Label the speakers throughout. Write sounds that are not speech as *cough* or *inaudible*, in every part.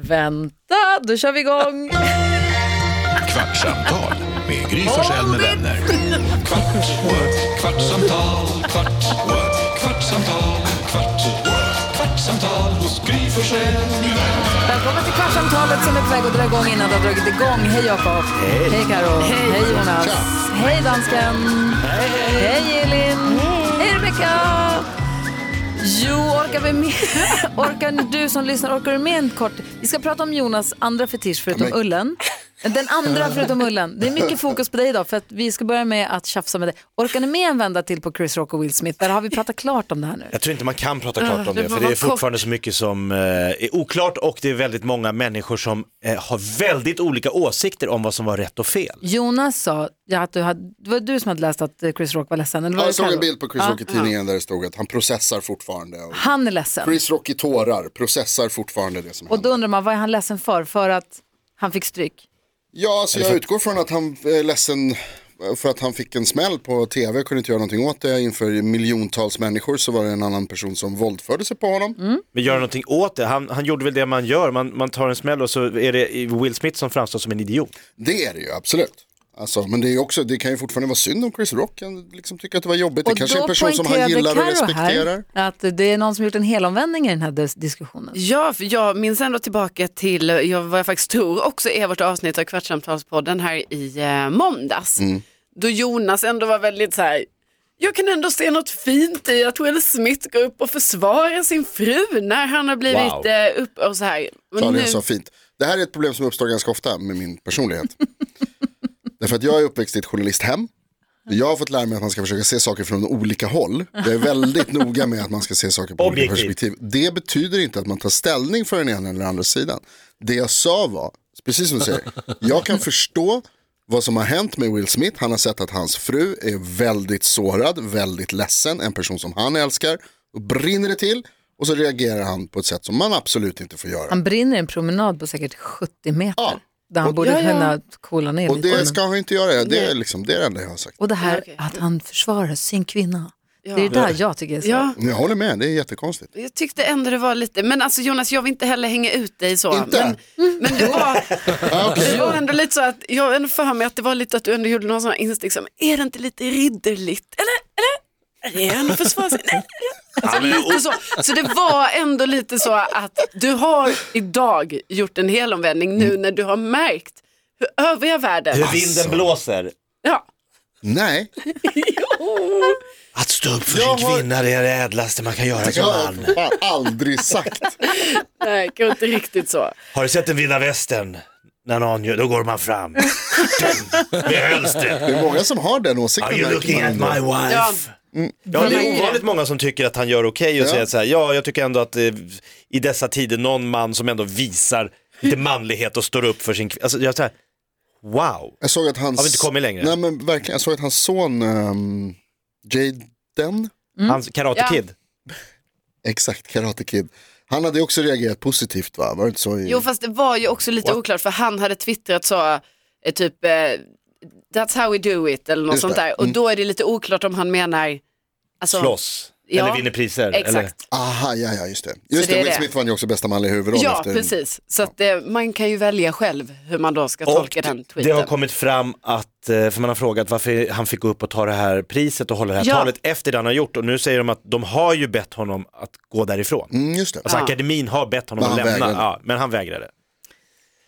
Speaker 1: Vänta, då kör vi igång.
Speaker 2: Kvartsamtal med Gry Forssell med vänner. Kvart, what? kvartsamtal, kvart, what? kvartsamtal, kvart, what? kvartsamtal hos Gry Forssell med vänner.
Speaker 1: Välkommen till Kvartsamtalet som är på väg att dra igång innan det har dragit igång. Hej Jakob. Hej. Hej Karo. Hej, Jonas. Hej dansken. Hej, Elin. Hej, Rebecka. Jo, orkar vi med? *laughs* Orkar du som lyssnar, orkar du med en kort? Vi ska prata om Jonas andra fetisch förutom ullen. Den andra förutom ullen. Det är mycket fokus på dig idag för att vi ska börja med att tjafsa med dig. Orkar ni med en vända till på Chris Rock och Will Smith? Eller har vi pratat klart om det här nu?
Speaker 3: Jag tror inte man kan prata klart
Speaker 1: Ah,
Speaker 3: om
Speaker 1: det
Speaker 3: det,
Speaker 1: får
Speaker 3: för det
Speaker 1: vara
Speaker 3: är fortfarande så mycket som eh, är oklart och det är väldigt många människor som eh, har väldigt olika åsikter om vad som var rätt och fel.
Speaker 1: Jonas sa ja, att du hade, det var du som hade läst att eh, Chris Rock var ledsen. Eller var
Speaker 4: Ja,
Speaker 1: det
Speaker 4: jag såg
Speaker 1: Carro?
Speaker 4: en bild på Chris
Speaker 1: Ja,
Speaker 4: Rock i tidningen där det stod att han processar fortfarande. Och
Speaker 1: Han är ledsen.
Speaker 4: Chris Rock i tårar processar fortfarande det som
Speaker 1: Och då
Speaker 4: hände.
Speaker 1: undrar man, vad är han ledsen för? För att han fick stryk?
Speaker 4: Ja, så jag utgår från att han är ledsen eh, för att han fick en smäll på tv och kunde inte göra någonting åt det. Inför miljontals människor så var det en annan person som våldförde sig på honom.
Speaker 1: Mm.
Speaker 3: Men gör någonting åt det, han, han gjorde väl det man gör, man, man tar en smäll och så är det Will Smith som framstår som en idiot.
Speaker 4: Det är det ju, absolut. Alltså, men det, är ju också, det kan ju fortfarande vara synd om Chris Rock. Han liksom tycker att det var jobbigt.
Speaker 1: Och
Speaker 4: det kanske är
Speaker 1: då
Speaker 4: en person som han
Speaker 1: poängterade
Speaker 4: gillar och
Speaker 1: Karo
Speaker 4: respekterar.
Speaker 1: Här att det är någon som gjort en helomvändning i den här dis- diskussionen.
Speaker 5: Ja, för jag minns ändå tillbaka till eh, jag, vad jag faktiskt tror också är vårt avsnitt av Kvartsamtalspodden här i eh, måndags. Då Jonas ändå var väldigt så här, jag kan ändå se något fint i att Will Smith går upp och försvarar sin fru när han har blivit
Speaker 3: Wow.
Speaker 5: eh, upp och så här. Och
Speaker 4: Sa det
Speaker 5: nu,
Speaker 4: jag sa fint. Det här är ett problem som uppstår ganska ofta med min personlighet. *laughs* Därför att jag är uppväxt i ett journalisthem. Jag har fått lära mig att man ska försöka se saker från olika håll. Jag är väldigt noga med att man ska se saker på olika
Speaker 3: Objektivt.
Speaker 4: perspektiv. Det betyder inte att man tar ställning för den ena eller andra sidan. Det jag sa var, precis som du säger, jag kan förstå vad som har hänt med Will Smith. Han har sett att hans fru är väldigt sårad, väldigt ledsen, en person som han älskar. Och brinner det till och så reagerar han på ett sätt som man absolut inte får göra.
Speaker 1: Han brinner i en promenad på säkert 70 meter.
Speaker 4: Ja.
Speaker 1: Där han borde
Speaker 5: Ja, ja.
Speaker 1: kunna coola ner
Speaker 4: Och
Speaker 1: lite.
Speaker 4: det
Speaker 1: men-
Speaker 4: ska han inte göra, det är, liksom, det är det enda jag har sagt.
Speaker 1: Och det här
Speaker 5: Ja, okej.
Speaker 1: att han försvarar sin kvinna.
Speaker 5: Ja.
Speaker 1: Det är det där jag tycker är så.
Speaker 5: ja,
Speaker 4: Jag håller med, det är jättekonstigt.
Speaker 5: jag tyckte ändå det var lite, men alltså Jonas jag vill inte heller hänga ut dig så.
Speaker 4: Inte?
Speaker 5: Men, men det var,
Speaker 4: Ah, okej.
Speaker 5: Alltså, Det var ändå lite så att, jag har ändå för mig att det var lite att du ändå gjorde någon sån här instinkt som, är det inte lite ridderligt? Eller? Eller? Är det ändå försvars... Nej, nej. Alltså, lite så. så det var ändå lite så att du har idag gjort en helomvändning
Speaker 4: Mm.
Speaker 5: nu när du har märkt hur övriga världen...
Speaker 3: vinden blåser.
Speaker 5: Ja.
Speaker 4: Nej,
Speaker 3: Att stå upp för
Speaker 4: Jag
Speaker 3: sin
Speaker 4: har-
Speaker 3: kvinna det är det ädlaste man kan göra
Speaker 4: jag
Speaker 3: som
Speaker 4: har
Speaker 3: man.
Speaker 4: för fan aldrig sagt.
Speaker 5: Nej, kanske inte riktigt
Speaker 4: Mm.
Speaker 5: så.
Speaker 3: Har du sett den vilda västern? När någon gör, då går man *laughs* fram. Med
Speaker 4: Det
Speaker 3: hölster.
Speaker 4: är många som har den
Speaker 3: Are
Speaker 4: åsikten.
Speaker 3: you looking at
Speaker 4: märker man
Speaker 3: my
Speaker 4: ändå.
Speaker 3: wife?
Speaker 5: Ja.
Speaker 3: Ja, det är ovanligt många som tycker att han gör okej
Speaker 4: Mm.
Speaker 3: och
Speaker 4: Ja.
Speaker 3: säger så här, ja, jag tycker ändå att eh, i dessa tider någon man som ändå visar *laughs* lite manlighet och står upp för sin kvinna. Alltså, jag säger, wow.
Speaker 4: Jag såg att hans...
Speaker 3: Har vi inte kommit längre?
Speaker 4: Nej men verkligen, jag såg att hans son um, Jaden,
Speaker 3: Hans Karate
Speaker 5: Ja.
Speaker 3: Kid.
Speaker 4: exakt, Karate Kid. Han hade också reagerat positivt va? Var det inte så? i-
Speaker 5: Jo fast det var ju också lite oklart för han hade twittrat så, eh, typ eh, that's how we do it eller något
Speaker 4: Just
Speaker 5: sånt
Speaker 4: det. Mm.
Speaker 5: där. Och då är det lite oklart om han menar alltså,
Speaker 3: Slåss.
Speaker 5: Ja.
Speaker 3: Eller vinner priser.
Speaker 5: Exakt.
Speaker 3: Eller?
Speaker 4: Aha, ja, ja, just det. Just
Speaker 5: det
Speaker 4: det,
Speaker 5: är
Speaker 4: Will
Speaker 5: det.
Speaker 4: Smith vann ju också bästa manliga huvudroll.
Speaker 5: Ja,
Speaker 4: efter...
Speaker 5: precis. Så att, eh, man kan ju välja själv hur man då ska tolka den
Speaker 3: det
Speaker 5: tweeten.
Speaker 3: har kommit fram att, eh, för man har frågat varför han fick gå upp och ta det här priset och hålla det här
Speaker 5: Ja.
Speaker 3: talet efter det han har gjort och nu säger de att de har ju bett honom att gå därifrån.
Speaker 4: Mm, just det.
Speaker 3: Alltså
Speaker 5: Ja.
Speaker 3: akademin har bett honom
Speaker 4: Men
Speaker 3: att
Speaker 4: han
Speaker 3: lämna,
Speaker 4: vägrade.
Speaker 3: ja, men han vägrade.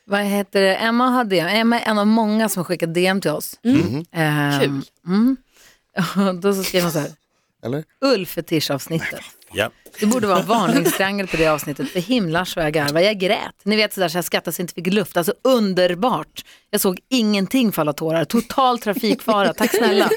Speaker 1: Vad heter det? Emma har DM. Emma är en av många som skickar DM till oss. Ehm,
Speaker 5: Kul.
Speaker 1: Mm. Och *laughs* Då så skriver hon så här.
Speaker 4: Eller?
Speaker 1: Ulf-fetisch-avsnittet.
Speaker 3: Ja.
Speaker 1: Det borde vara en varningstriangel på det avsnittet. För himlars vad jag garvade. Jag grät. Ni vet sådär så jag skrattade så jag inte fick luft. Alltså underbart. Jag såg ingenting falla tårar. Total trafikfara. Tack snälla.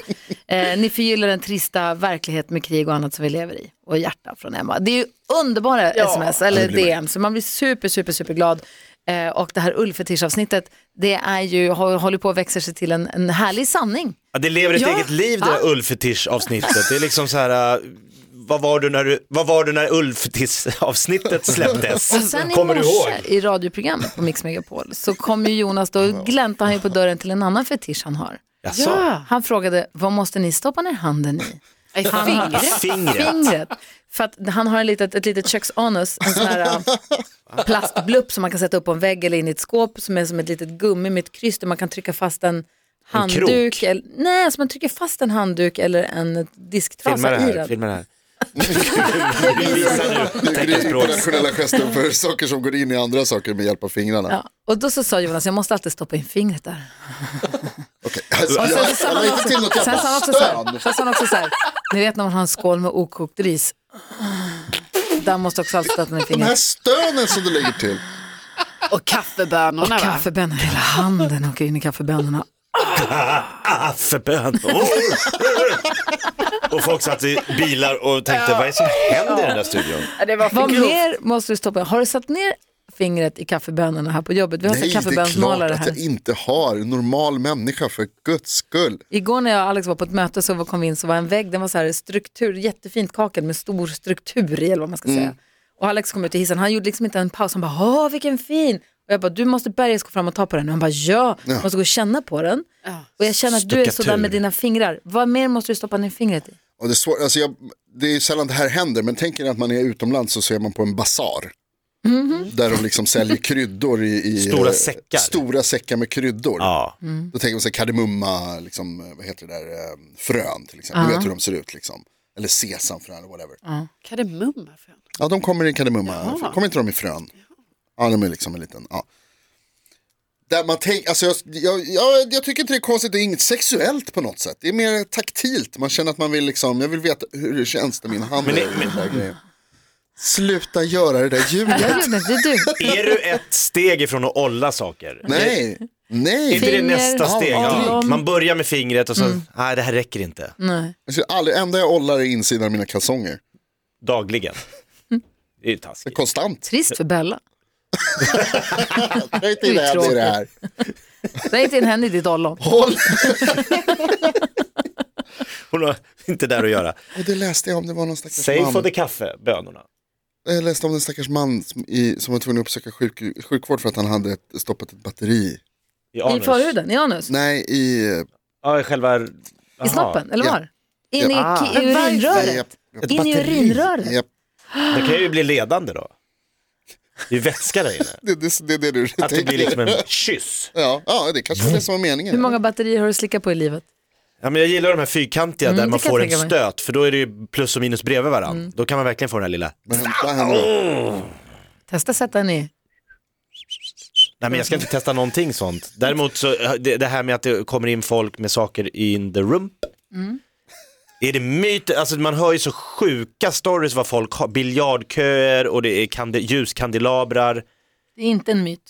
Speaker 1: Eh, ni förgyller den trista verklighet med krig och annat som vi lever i. Och hjärta från Emma. Det är ju underbara sms eller DM. Så man blir super, super, super glad. Eh, och det här ullfetischavsnittet, det är ju, hå- håller på att växa sig till en, en härlig sanning.
Speaker 3: Ja, det lever ett
Speaker 5: Ja.
Speaker 3: eget liv det där Ulfetisch-avsnittet. Det är liksom så här, äh, vad var du när, du, vad var du när Ulfetisch-avsnittet
Speaker 1: Och
Speaker 3: släpptes?
Speaker 1: sen i
Speaker 3: Alltså, Kommer du ihåg?
Speaker 1: morse i radioprogrammet på Mix Megapol så kom ju Jonas då och gläntade han ju på dörren till en annan fetisch han har.
Speaker 3: Jaså?
Speaker 5: Ja.
Speaker 1: Han frågade, vad måste ni stoppa ner handen i?
Speaker 5: Nej, fan.
Speaker 1: Fingret.
Speaker 3: Fingret.
Speaker 1: För att han har en litet, ett litet köksanus, en sån
Speaker 3: *laughs*
Speaker 1: här äh, plastblupp som man kan sätta upp på en vägg eller in i ett skåp som är som ett litet gummi med ett kryss där man kan trycka fast en handduk. eller, nej, så man trycker fast en handduk eller en
Speaker 3: Filma det
Speaker 1: disktrasa i
Speaker 3: här,
Speaker 1: den.
Speaker 3: filma det här.
Speaker 4: Det är
Speaker 3: Teckenspråk.
Speaker 4: internationella gester för saker som går in i andra saker med hjälp av fingrarna.
Speaker 1: Ja. Och då så sa Jonas, jag måste alltid stoppa in fingret där.
Speaker 4: Okej, alltså,
Speaker 1: Och sen
Speaker 4: jag,
Speaker 1: så sa
Speaker 4: jag la
Speaker 1: han
Speaker 4: inte
Speaker 1: också,
Speaker 4: till något
Speaker 1: sen
Speaker 4: jävla
Speaker 1: sa han också, så här,
Speaker 4: stön.
Speaker 1: sen sa han också så här, ni vet när man har en skål med okokt ris, där måste också alltid stoppa in
Speaker 4: De här
Speaker 1: fingret.
Speaker 4: stönen som du lägger till.
Speaker 5: Och kaffebönorna va?
Speaker 1: Kaffebönor, hela handen åker in i kaffebönorna.
Speaker 3: Ah, Affebön. Oh. och folk satt i bilar och tänkte, vad är det som händer i den där studion?
Speaker 5: Det var
Speaker 1: Vad mer måste du stoppa? Har du satt ner fingret i kaffebönorna här på jobbet? Vi har
Speaker 4: Nej,
Speaker 1: sett
Speaker 4: det är klart
Speaker 1: kaffebönsmalare
Speaker 4: att
Speaker 1: här.
Speaker 4: jag inte har. En normal människa, för guds skull.
Speaker 1: Igår när jag och Alex var på ett möte så var- kom vi in så var en vägg, den var så här struktur, jättefint kakel med stor struktur i eller vad man ska säga. Och Alex kom ut i hissen, han gjorde liksom inte en paus, han bara åh vilken fin. Och jag bara du måste bergas gå fram och ta på den. Och han bara ja, jag måste gå och känna på den. Och jag känner att du är
Speaker 3: Stuckatur.
Speaker 1: sådär med dina fingrar. Vad mer måste du stoppa ner fingret i?
Speaker 4: Och det, är svår, alltså jag, det är ju sällan det här händer, men tänk er att man är utomlands så ser man på en basar.
Speaker 1: Mm-hmm.
Speaker 4: Där de liksom säljer kryddor i, i
Speaker 3: Stora
Speaker 4: eh,
Speaker 3: säckar.
Speaker 4: stora säckar med kryddor.
Speaker 3: Ja.
Speaker 4: Då tänker man sig kardemumma, liksom, eh, vad heter det där, eh, frön till exempel. Du vet hur de ser ut liksom. Eller sesamfrön eller whatever.
Speaker 5: Kardemumma. för fan.
Speaker 4: Ja, de kommer i kardemumma. Kommer inte de i frön? Ja, de är liksom en liten, ja. Där man tänk, alltså jag, jag, jag, jag tycker inte det är konstigt, det är inget sexuellt på något sätt. Det är mer taktilt, man känner att man vill liksom, jag vill veta hur det känns när min hand
Speaker 3: Men det-
Speaker 4: är men... där grejen. Sluta göra det där ljudet.
Speaker 1: Jag gjorde inte, det är du.
Speaker 3: Är du ett steg ifrån att olla saker?
Speaker 4: Nej,
Speaker 3: Är inte
Speaker 4: nej.
Speaker 3: det
Speaker 1: Finger, Mm.
Speaker 3: nästa steg?
Speaker 1: ollon.
Speaker 3: Ja. Man börjar med fingret och så, nej det här räcker inte.
Speaker 1: Mm.
Speaker 4: Alltså, aldrig, enda jag ollar är insidan av mina kalsonger.
Speaker 3: Dagligen. Det är ju
Speaker 4: Det är
Speaker 1: *laughs*
Speaker 3: taskigt.
Speaker 4: konstant.
Speaker 1: Trist för Bella.
Speaker 4: Jag är inte inne i det här.
Speaker 1: Det är inte en händ i ditt ollon.
Speaker 4: Håll.
Speaker 3: Hon har inte där att göra.
Speaker 4: Och det läste jag om, det var någon stackars
Speaker 3: Säg
Speaker 4: man.
Speaker 3: få det kaffe, bönorna.
Speaker 4: Jag läste om en stackars man som, i, som var tvungen att uppsöka sjuk, sjukvård för att han hade ett, stoppat ett batteri.
Speaker 3: I
Speaker 1: I
Speaker 3: anus.
Speaker 1: förhuden, i anus.
Speaker 4: Nej, i...
Speaker 3: Ja, i själva... Aha.
Speaker 1: I snoppen, eller
Speaker 4: Ja.
Speaker 1: var? In i,
Speaker 3: Ja.
Speaker 1: ki- i urinröret.
Speaker 4: Ett
Speaker 1: In i urinröret.
Speaker 4: Japp,
Speaker 3: Det kan ju bli ledande då. Det är väska
Speaker 4: *laughs*
Speaker 3: där inne.
Speaker 4: det, det, det är det du
Speaker 3: Att det blir
Speaker 4: tänker.
Speaker 3: liksom en kyss.
Speaker 4: Ja, ja, det kanske var det som var
Speaker 1: Hur
Speaker 4: meningen.
Speaker 1: många batterier har du slickat på i livet?
Speaker 3: Ja, men jag gillar de här fyrkantiga där
Speaker 1: Mm, det
Speaker 3: man
Speaker 1: kan
Speaker 3: får
Speaker 1: jag
Speaker 3: en
Speaker 1: tänka mig. Mm.
Speaker 3: stöt, för då är det ju plus och minus bredvid varandra. Då kan man verkligen få den här lilla...
Speaker 4: Vad händer- vad händer då?
Speaker 1: Testa sätta den i.
Speaker 3: Nej men jag ska inte testa någonting sånt. Däremot så, eh, det, det här med att det kommer in folk med saker in the rump.
Speaker 1: Mm.
Speaker 3: Är det myt? Alltså man hör ju så sjuka stories vad folk har, biljardköer och det är kande, ljuskandelabrar.
Speaker 1: Det är inte en myt.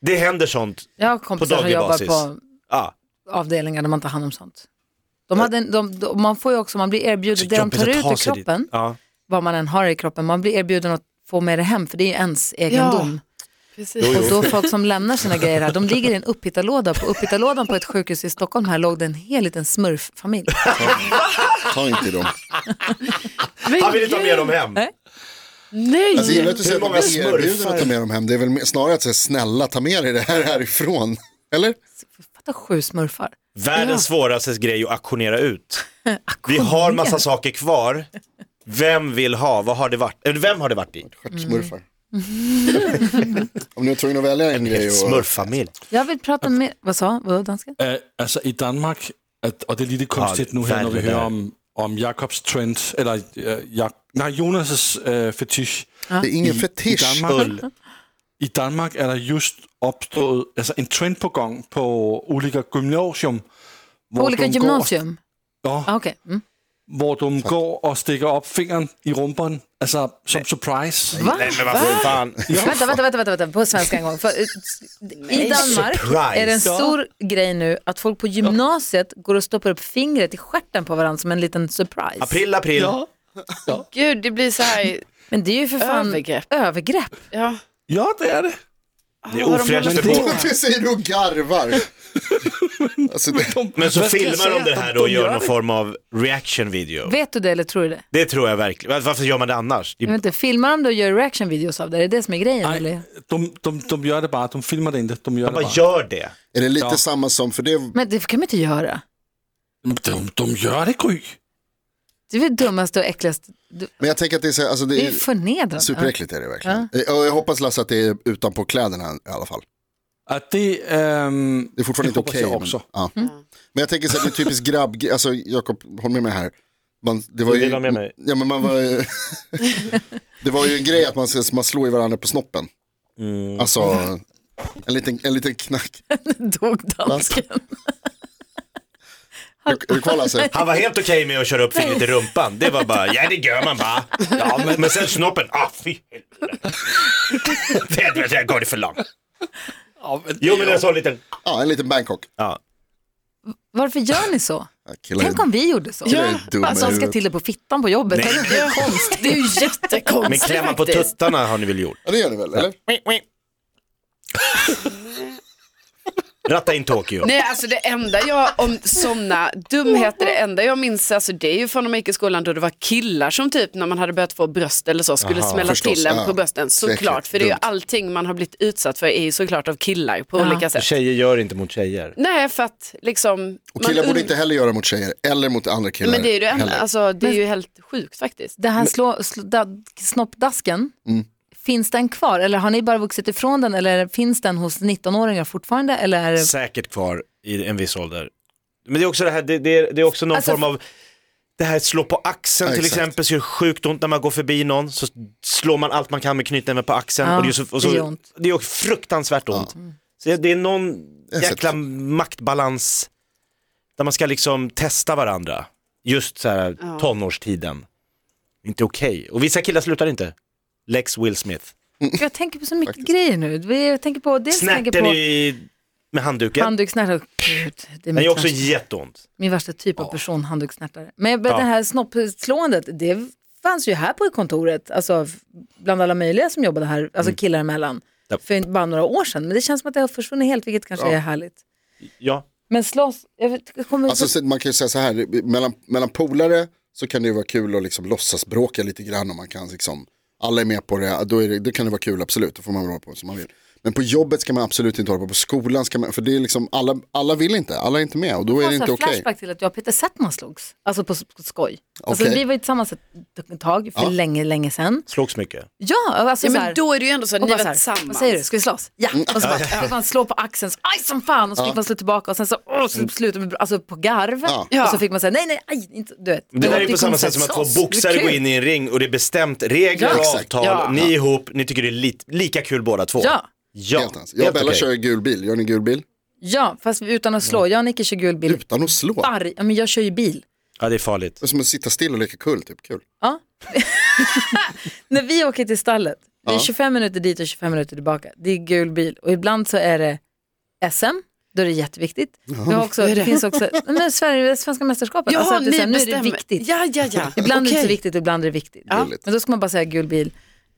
Speaker 3: Det händer sånt. Ah,
Speaker 1: Jag har kompisar som
Speaker 3: daglig
Speaker 1: jobbar
Speaker 3: basis.
Speaker 1: på
Speaker 3: Ja.
Speaker 1: avdelningar där man tar hand om sånt. De hade en, de, de, man får ju också, man blir erbjuden, det de
Speaker 3: Jobbigt
Speaker 1: tar
Speaker 3: att
Speaker 1: ut
Speaker 3: ta
Speaker 1: ur
Speaker 3: sig dit.
Speaker 1: kroppen,
Speaker 3: Ja.
Speaker 1: vad man än har i kroppen, man blir erbjuden att få med det hem, för det är ju ens egendom.
Speaker 5: Precis.
Speaker 1: Och då folk som lämnar sina grejer här, de ligger i en upphittarlåda. På upphittarlådan på ett sjukhus i Stockholm här låg det en hel liten smurffamilj.
Speaker 4: Ta inte dem.
Speaker 5: Men
Speaker 3: Han vill inte ha med
Speaker 5: gud,
Speaker 3: dem hem. Eh?
Speaker 5: Nej.
Speaker 4: Alltså, jag gillar att du
Speaker 3: Hur
Speaker 4: säger att
Speaker 3: många
Speaker 4: de erbjuder
Speaker 3: smurfar?
Speaker 4: att ta med dem hem. Det är väl mer- snarare att säga snälla ta med dig det här härifrån.
Speaker 1: Mm.
Speaker 4: Eller?
Speaker 1: Fatta sju smurfar.
Speaker 3: Världens svåraste grej att
Speaker 1: *laughs*
Speaker 3: auktionera ut. Vi har massa saker kvar. Vem vill ha? Vad har det varit? Eller Vem har det varit i?
Speaker 4: Stjärtsmurfar. Om ni var tvungna att välja en grej. Och...
Speaker 3: Smurffamilj.
Speaker 1: Jag vill prata med, vad sa, vad dansken?
Speaker 6: Øh, altså i Danmark, at, og det er lige lidt kunstigt
Speaker 3: det-
Speaker 6: nu her, når
Speaker 3: fandme
Speaker 6: vi hører
Speaker 3: der.
Speaker 6: om, om Jakobs trend, eller øh, Jak nej, Jonas' øh, fetish.
Speaker 4: Det är ingen
Speaker 6: I
Speaker 4: fetisch.
Speaker 6: Danmark, I Danmark er der just opstået altså en trend på gang på Ulika Gymnasium.
Speaker 1: På olika
Speaker 6: de
Speaker 1: gymnasium?
Speaker 6: Går, og,
Speaker 1: Ah, Okej. Mm.
Speaker 6: ja, hvor de går og stikker op fingeren i rumperen, altså som surprise.
Speaker 1: Va?
Speaker 3: Nej men vad fan.
Speaker 1: *laughs* Vänta, vänta, vänta, vänta, vänta, på svenska en gång. För, eh, I Danmark
Speaker 3: Surprise.
Speaker 1: är det en stor grej nu att folk på gymnasiet går och stoppar upp fingret i stjärten på varandra som en liten surprise.
Speaker 3: April, april.
Speaker 6: Ja,
Speaker 5: Gud, det blir så här.
Speaker 1: Men det är ju för fan
Speaker 5: Övergrepp.
Speaker 1: övergrepp.
Speaker 5: Ja.
Speaker 6: ja, det er det.
Speaker 3: Det är
Speaker 5: Vad de
Speaker 3: ofräscht
Speaker 5: håller
Speaker 3: för
Speaker 5: på
Speaker 3: på.
Speaker 5: med.
Speaker 4: *laughs* Det säger du och garvar. Alltså, det...
Speaker 3: Men så
Speaker 6: Hvad skal jeg
Speaker 3: filmar
Speaker 6: sige,
Speaker 3: de det
Speaker 6: at
Speaker 3: här då och
Speaker 6: de
Speaker 3: gör någon
Speaker 6: det?
Speaker 3: form av reaction video.
Speaker 1: Vet du det eller tror du det?
Speaker 3: Det tror jag verkligen. Varför gör man det annars? Det
Speaker 1: Jag
Speaker 3: är
Speaker 1: vet inte, filmar de det och gör reaction-videos av det? Är det det som är grejen?
Speaker 6: Nej,
Speaker 1: Eller?
Speaker 6: de, de, de gør det bare. De filmer det ikke. De gør det
Speaker 3: bara
Speaker 6: bare.
Speaker 3: gör det.
Speaker 4: Är det lite samma som, för det
Speaker 1: Men det kan man inte göra.
Speaker 6: De, de gør det, Gry.
Speaker 1: Det är väl dummaste och äckligaste. Du-
Speaker 4: Men jag tänker att det är, så här, alltså det
Speaker 1: Det är
Speaker 4: är
Speaker 1: ju förnedrande.
Speaker 4: superäckligt är det verkligen. Eh, Och jag hoppas Lasse att det är utanpå kläderna i alla fall.
Speaker 6: Att det, ehm,
Speaker 4: Det är fortfarande inte
Speaker 6: hoppas
Speaker 4: okej.
Speaker 6: jag
Speaker 4: men-
Speaker 6: också.
Speaker 4: ja.
Speaker 1: Mm.
Speaker 4: men jag tänker så här, det är typiskt grabb, alltså Jakob, håll med mig här. Man, det var
Speaker 3: Jag
Speaker 4: ju,
Speaker 3: delar med mig.
Speaker 4: Ja, men man
Speaker 1: *laughs*
Speaker 4: var, ju- det var ju en grej att man, man slår i varandra på snoppen. Alltså, en liten, en
Speaker 1: *laughs*
Speaker 4: liten knack.
Speaker 1: *laughs* Dog
Speaker 4: Alltså.
Speaker 1: dansken.
Speaker 4: Är du
Speaker 1: *laughs*
Speaker 4: kvar Lasse?
Speaker 3: Han var helt okej med att köra upp fingret i rumpan. Det var bara, ja det gör man bara. Ja, men, men sen snoppen, ah fy helvete. Vet du, Jag går det för långt. Jo men en sån liten.
Speaker 4: Ja, en liten Bangkok.
Speaker 3: Ja.
Speaker 1: Varför gör ni så?
Speaker 4: Ja, killar
Speaker 1: Tänk
Speaker 4: är-
Speaker 1: om vi gjorde så.
Speaker 4: killar är dumma
Speaker 1: Bara så
Speaker 4: i
Speaker 1: han ska
Speaker 4: huvudet.
Speaker 1: till det på fittan på jobbet. Det är ju konst.
Speaker 5: Det är ju
Speaker 3: Men
Speaker 5: jättekonstigt
Speaker 3: klämma på
Speaker 5: Alltså, faktiskt.
Speaker 3: tuttarna har ni väl
Speaker 5: *laughs*
Speaker 3: gjort?
Speaker 4: Ja, det gör ni väl, eller?
Speaker 3: Ratta in Tokyo.
Speaker 5: Nej, alltså det enda jag, om sådana dumheter, det enda jag minns, alltså det är ju från när man gick i skolan då det var killar som typ när man hade börjat få bröst eller så skulle smälla
Speaker 4: förstås,
Speaker 5: till en
Speaker 4: ja.
Speaker 5: på brösten,
Speaker 4: Säkert,
Speaker 5: såklart. För det är ju
Speaker 4: dumt.
Speaker 5: allting man har blivit utsatt för är ju såklart av killar på olika sätt.
Speaker 3: Tjejer gör inte mot tjejer.
Speaker 5: Nej, för att liksom...
Speaker 4: Och
Speaker 5: man
Speaker 4: killar borde
Speaker 5: und-
Speaker 4: inte heller göra mot tjejer, eller mot andra killar.
Speaker 5: Men det är ju det enda,
Speaker 4: heller.
Speaker 5: alltså det är ju helt sjukt faktiskt.
Speaker 1: Det här slå, slå, da, snoppdasken, finns den kvar? Eller har ni bara vuxit ifrån den? Eller finns den hos 19-åringar fortfarande? Eller är det...
Speaker 3: Säkert kvar i en viss ålder. Men det är också det här, det, det, är, det är också någon
Speaker 1: Alltså-
Speaker 3: form av det här att slå på axeln
Speaker 4: Ja,
Speaker 3: till
Speaker 4: exakt.
Speaker 3: exempel, så gör det sjukt ont när man går förbi någon, så slår man allt man kan med knytnäven på axeln.
Speaker 1: Ja,
Speaker 3: och det, är så, och så,
Speaker 1: det gör ont.
Speaker 3: Det är också fruktansvärt ont. Så det är någon
Speaker 4: har sett
Speaker 3: jäkla
Speaker 4: det.
Speaker 3: maktbalans där man ska liksom testa varandra. Just så här tonårstiden. Inte okej. Och vissa killar slutar inte. Lex Will Smith.
Speaker 1: Jag tänker på så mycket grejer nu. Vi- Jag tänker på, dels tänker
Speaker 3: Snärten
Speaker 1: på
Speaker 3: i, med handduken.
Speaker 1: handdukssnärta. Gud, det är
Speaker 3: Den
Speaker 1: mitt
Speaker 3: gör också
Speaker 1: värsta.
Speaker 3: jätteont.
Speaker 1: Min värsta typ av person, handdukssnärtare. Men jag- det här snoppslåendet, det fanns ju här på kontoret, alltså f- bland alla möjliga som jobbade här, alltså killar emellan,
Speaker 3: Ja.
Speaker 1: för inte bara några år sedan. Men det känns som att det har försvunnit helt, vilket kanske är härligt.
Speaker 3: Ja.
Speaker 1: Men slåss, jag vet, jag kommer
Speaker 4: Alltså, så- man kan ju säga så här, mellan, mellan polare så kan det ju vara kul att liksom låtsas bråka lite grann om man kan liksom, alla är med på det, då, är det, då kan det vara kul absolut, då får man hålla på som man vill. Men på jobbet ska man absolut inte hålla på, på skolan ska man, för det är liksom, alla, alla vill inte, alla är inte med och då är
Speaker 1: Jag
Speaker 4: det
Speaker 1: har
Speaker 4: inte
Speaker 1: en
Speaker 4: okej.
Speaker 1: flashback till att jag och Peter Settman slogs, alltså på, på skoj. Alltså,
Speaker 4: Okej.
Speaker 1: vi var ju tillsammans ett tag för
Speaker 4: Ja.
Speaker 1: länge, länge sedan.
Speaker 3: Slogs mycket.
Speaker 1: Ja, alltså
Speaker 5: Ja,
Speaker 1: så här,
Speaker 5: men då är det ju ändå så att
Speaker 1: och
Speaker 5: ni
Speaker 1: bara
Speaker 5: var
Speaker 1: så här, vad
Speaker 5: tillsammans.
Speaker 1: säger du, ska vi slåss? Ja,
Speaker 3: Mm.
Speaker 1: och så bara, fick man slå på axeln, så, aj som fan, och så fick man slå tillbaka och sen så, åh,
Speaker 3: Mm.
Speaker 1: så slutade vi alltså, på garv.
Speaker 4: Ja.
Speaker 1: Och så fick man säga, nej, nej, aj, inte, du vet.
Speaker 3: Det där är på samma sätt som att två boxare går in i en ring och det är bestämt regler
Speaker 1: Ja.
Speaker 3: och
Speaker 4: Exakt.
Speaker 3: avtal.
Speaker 5: Ja.
Speaker 3: Ni är ihop, ni tycker det är li lika kul båda två.
Speaker 1: Ja.
Speaker 3: ja.
Speaker 4: Helt ens. Jag och Bella
Speaker 3: okej.
Speaker 4: kör ju gul bil, gör ni gul bil?
Speaker 1: Ja, fast utan att
Speaker 3: Mm.
Speaker 1: slå. Jag och Nicke kör gul bil.
Speaker 4: Utan att slå. Det
Speaker 1: Arg, ja, men jag kör ju bil.
Speaker 3: Ja, det är farligt.
Speaker 4: är som att sitta still och leka kull, typ. Kul.
Speaker 1: Ja. När vi åker till stallet, det är 25 minuter dit och 25 minuter tillbaka. Det är gul bil och ibland så är det SM, då är det jätteviktigt. Vi har också, det finns också Nej, men Sverige, svenska mästerskapet,
Speaker 5: Jaha,
Speaker 1: alltså att det är
Speaker 5: ni
Speaker 1: så här, nu är det
Speaker 5: bestämmer.
Speaker 1: viktigt.
Speaker 5: Ja, ja, ja.
Speaker 1: Ibland är det
Speaker 5: Okej.
Speaker 1: inte så viktigt och ibland är det viktigt.
Speaker 4: Gulligt.
Speaker 1: Men då ska man bara säga gul bil.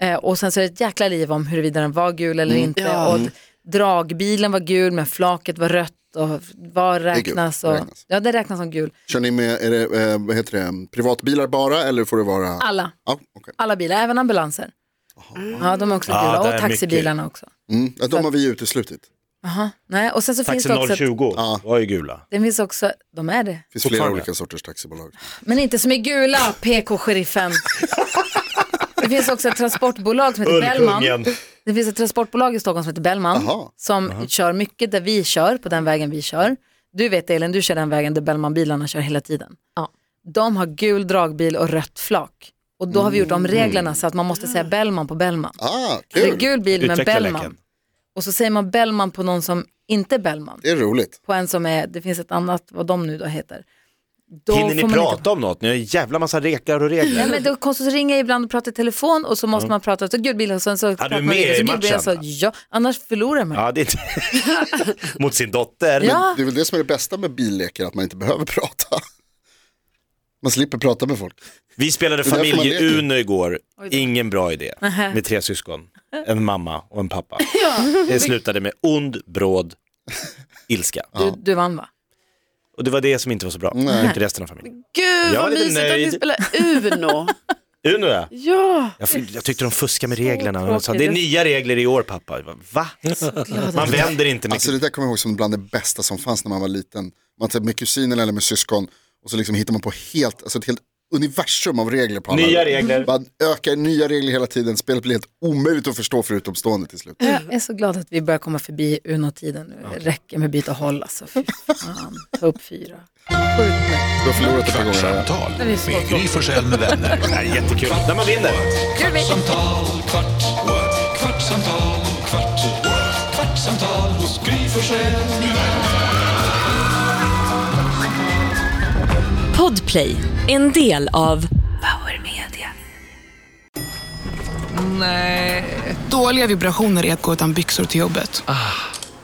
Speaker 1: Eh, och sen så är det ett jäkla liv om huruvida den var gul eller
Speaker 4: Mm.
Speaker 1: inte.
Speaker 5: Ja.
Speaker 1: Och d- dragbilen var gul men flaket var rött. Och vad
Speaker 4: gult.
Speaker 1: räknas? Och,
Speaker 4: Räknas.
Speaker 1: Ja, det räknas som gul.
Speaker 4: Kör ni med, är det, eh, vad heter det, privatbilar bara eller får det vara?
Speaker 1: Alla,
Speaker 4: Ja, okej.
Speaker 1: alla bilar, även ambulanser. Ja, de är också
Speaker 3: Ja,
Speaker 1: gula.
Speaker 3: det är
Speaker 1: och taxibilarna också.
Speaker 4: mm. ja, de har vi uteslutit. Det
Speaker 1: Aha. Nej, och sen så finns
Speaker 3: Taxi
Speaker 1: det också, ett,
Speaker 3: 020
Speaker 4: Ja.
Speaker 3: var ju gula.
Speaker 1: det finns också, de är det.
Speaker 4: finns flera
Speaker 3: Fortfarande.
Speaker 4: olika sorters taxibolag.
Speaker 1: Men inte som är gula,
Speaker 3: *laughs*
Speaker 1: PK-sheriffen. det finns också ett transportbolag som heter Bellman. Det finns ett transportbolag i Stockholm som heter Bellman
Speaker 4: Aha.
Speaker 1: som kör mycket där vi kör, på den vägen vi kör. Du vet Elin, du kör den vägen där Bellman-bilarna kör hela tiden. De har gul dragbil och rött flak. Och då har vi gjort om reglerna så att man måste säga Bellman på Bellman.
Speaker 4: Ah,
Speaker 1: Så det är
Speaker 4: Mm. kul.
Speaker 1: gul bil men
Speaker 3: Utveckla
Speaker 1: Bellman.
Speaker 3: leken.
Speaker 1: Och så säger man Bellman på någon som inte är Bellman.
Speaker 4: Det är roligt.
Speaker 1: På en som är, det finns ett annat, vad de nu då heter. Då
Speaker 3: Hinner
Speaker 1: får
Speaker 3: ni
Speaker 1: man inte-
Speaker 3: prata om något? Ni har en jävla massa regler och regler.
Speaker 1: Nej, men då konstigt att ringa ibland och prata i telefon och så måste man prata så gud bil och sen så pratar
Speaker 3: du är
Speaker 1: man vidare, så
Speaker 3: med i
Speaker 1: gud, bil,
Speaker 3: matchen?
Speaker 1: så, ja, annars förlorar man.
Speaker 3: Ja, det är inte...
Speaker 1: *laughs*
Speaker 3: Mot sin dotter.
Speaker 1: Ja.
Speaker 4: Det är väl det som är det bästa med billeker, att man inte *laughs* behöver prata. Man slipper prata med folk.
Speaker 3: Vi spelade
Speaker 4: är därför man leker.
Speaker 3: familje-Uno igår, ingen bra idé, med tre syskon, en mamma och
Speaker 1: *laughs*
Speaker 3: en pappa. Det slutade med ond, bråd, ilska.
Speaker 1: Du, du vann va?
Speaker 3: Och det var det som inte var så bra, inte resten av familjen.
Speaker 5: Gud
Speaker 3: Jag
Speaker 5: vad
Speaker 3: är lite
Speaker 5: mysigt att ni
Speaker 3: nöjd.
Speaker 5: spelar Uno.
Speaker 3: Uno ja.
Speaker 5: ja.
Speaker 3: Jag, fy- jag tyckte de fuskade med reglerna.
Speaker 1: Så
Speaker 3: De sa, det är
Speaker 1: tråkigt.
Speaker 3: nya regler i år pappa. Jag bara, Va? Man vänder inte med...
Speaker 4: Alltså det där kommer jag ihåg som bland det typ bästa som fanns när man var liten. Man satt med kusinen eller med syskon och så liksom hittar man på helt, alltså ett helt universum av regler på alla.
Speaker 3: Nya regler.
Speaker 4: Man ökar nya regler hela tiden, spelet blir helt omöjligt att förstå för utomstående till slut.
Speaker 1: Jag är så glad att vi börjar komma förbi Uno-tiden nu. Det räcker med byta håll alltså. Fy fan, ta upp fyra. Sjukt nu.
Speaker 4: Du har förlorat ett par gånger.
Speaker 2: Kvartsamtal
Speaker 1: Det är så
Speaker 2: med
Speaker 1: bra.
Speaker 2: Gry Forssell med
Speaker 1: *laughs*
Speaker 2: vänner.
Speaker 3: Jättekul, när man vinner.
Speaker 2: Kvartsamtal, kvart, what? kvartsamtal, kvart, what? kvartsamtal hos Gry Forssell med vänner.
Speaker 7: Podplay, en del av Power Media.
Speaker 8: Dåliga vibrationer är att gå utan byxor till jobbet.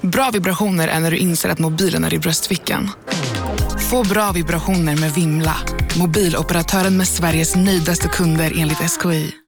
Speaker 8: Bra vibrationer är när du inser att mobilen är i bröstfickan. Få bra vibrationer med Vimla. Mobiloperatören med Sveriges nöjdaste kunder enligt SKI.